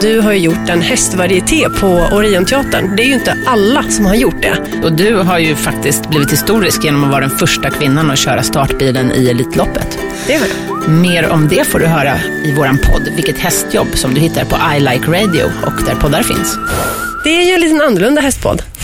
Du har ju gjort en hästvarieté på Orionteatern. Det är ju inte alla som har gjort det. Och du har ju faktiskt blivit historisk genom att vara den första kvinnan att köra startbilen i Elitloppet. Det har jag. Mer om det får du höra i våran podd Vilket hästjobb som du hittar på I Like Radio och där poddar finns. Det är ju en liten annorlunda hästpodd.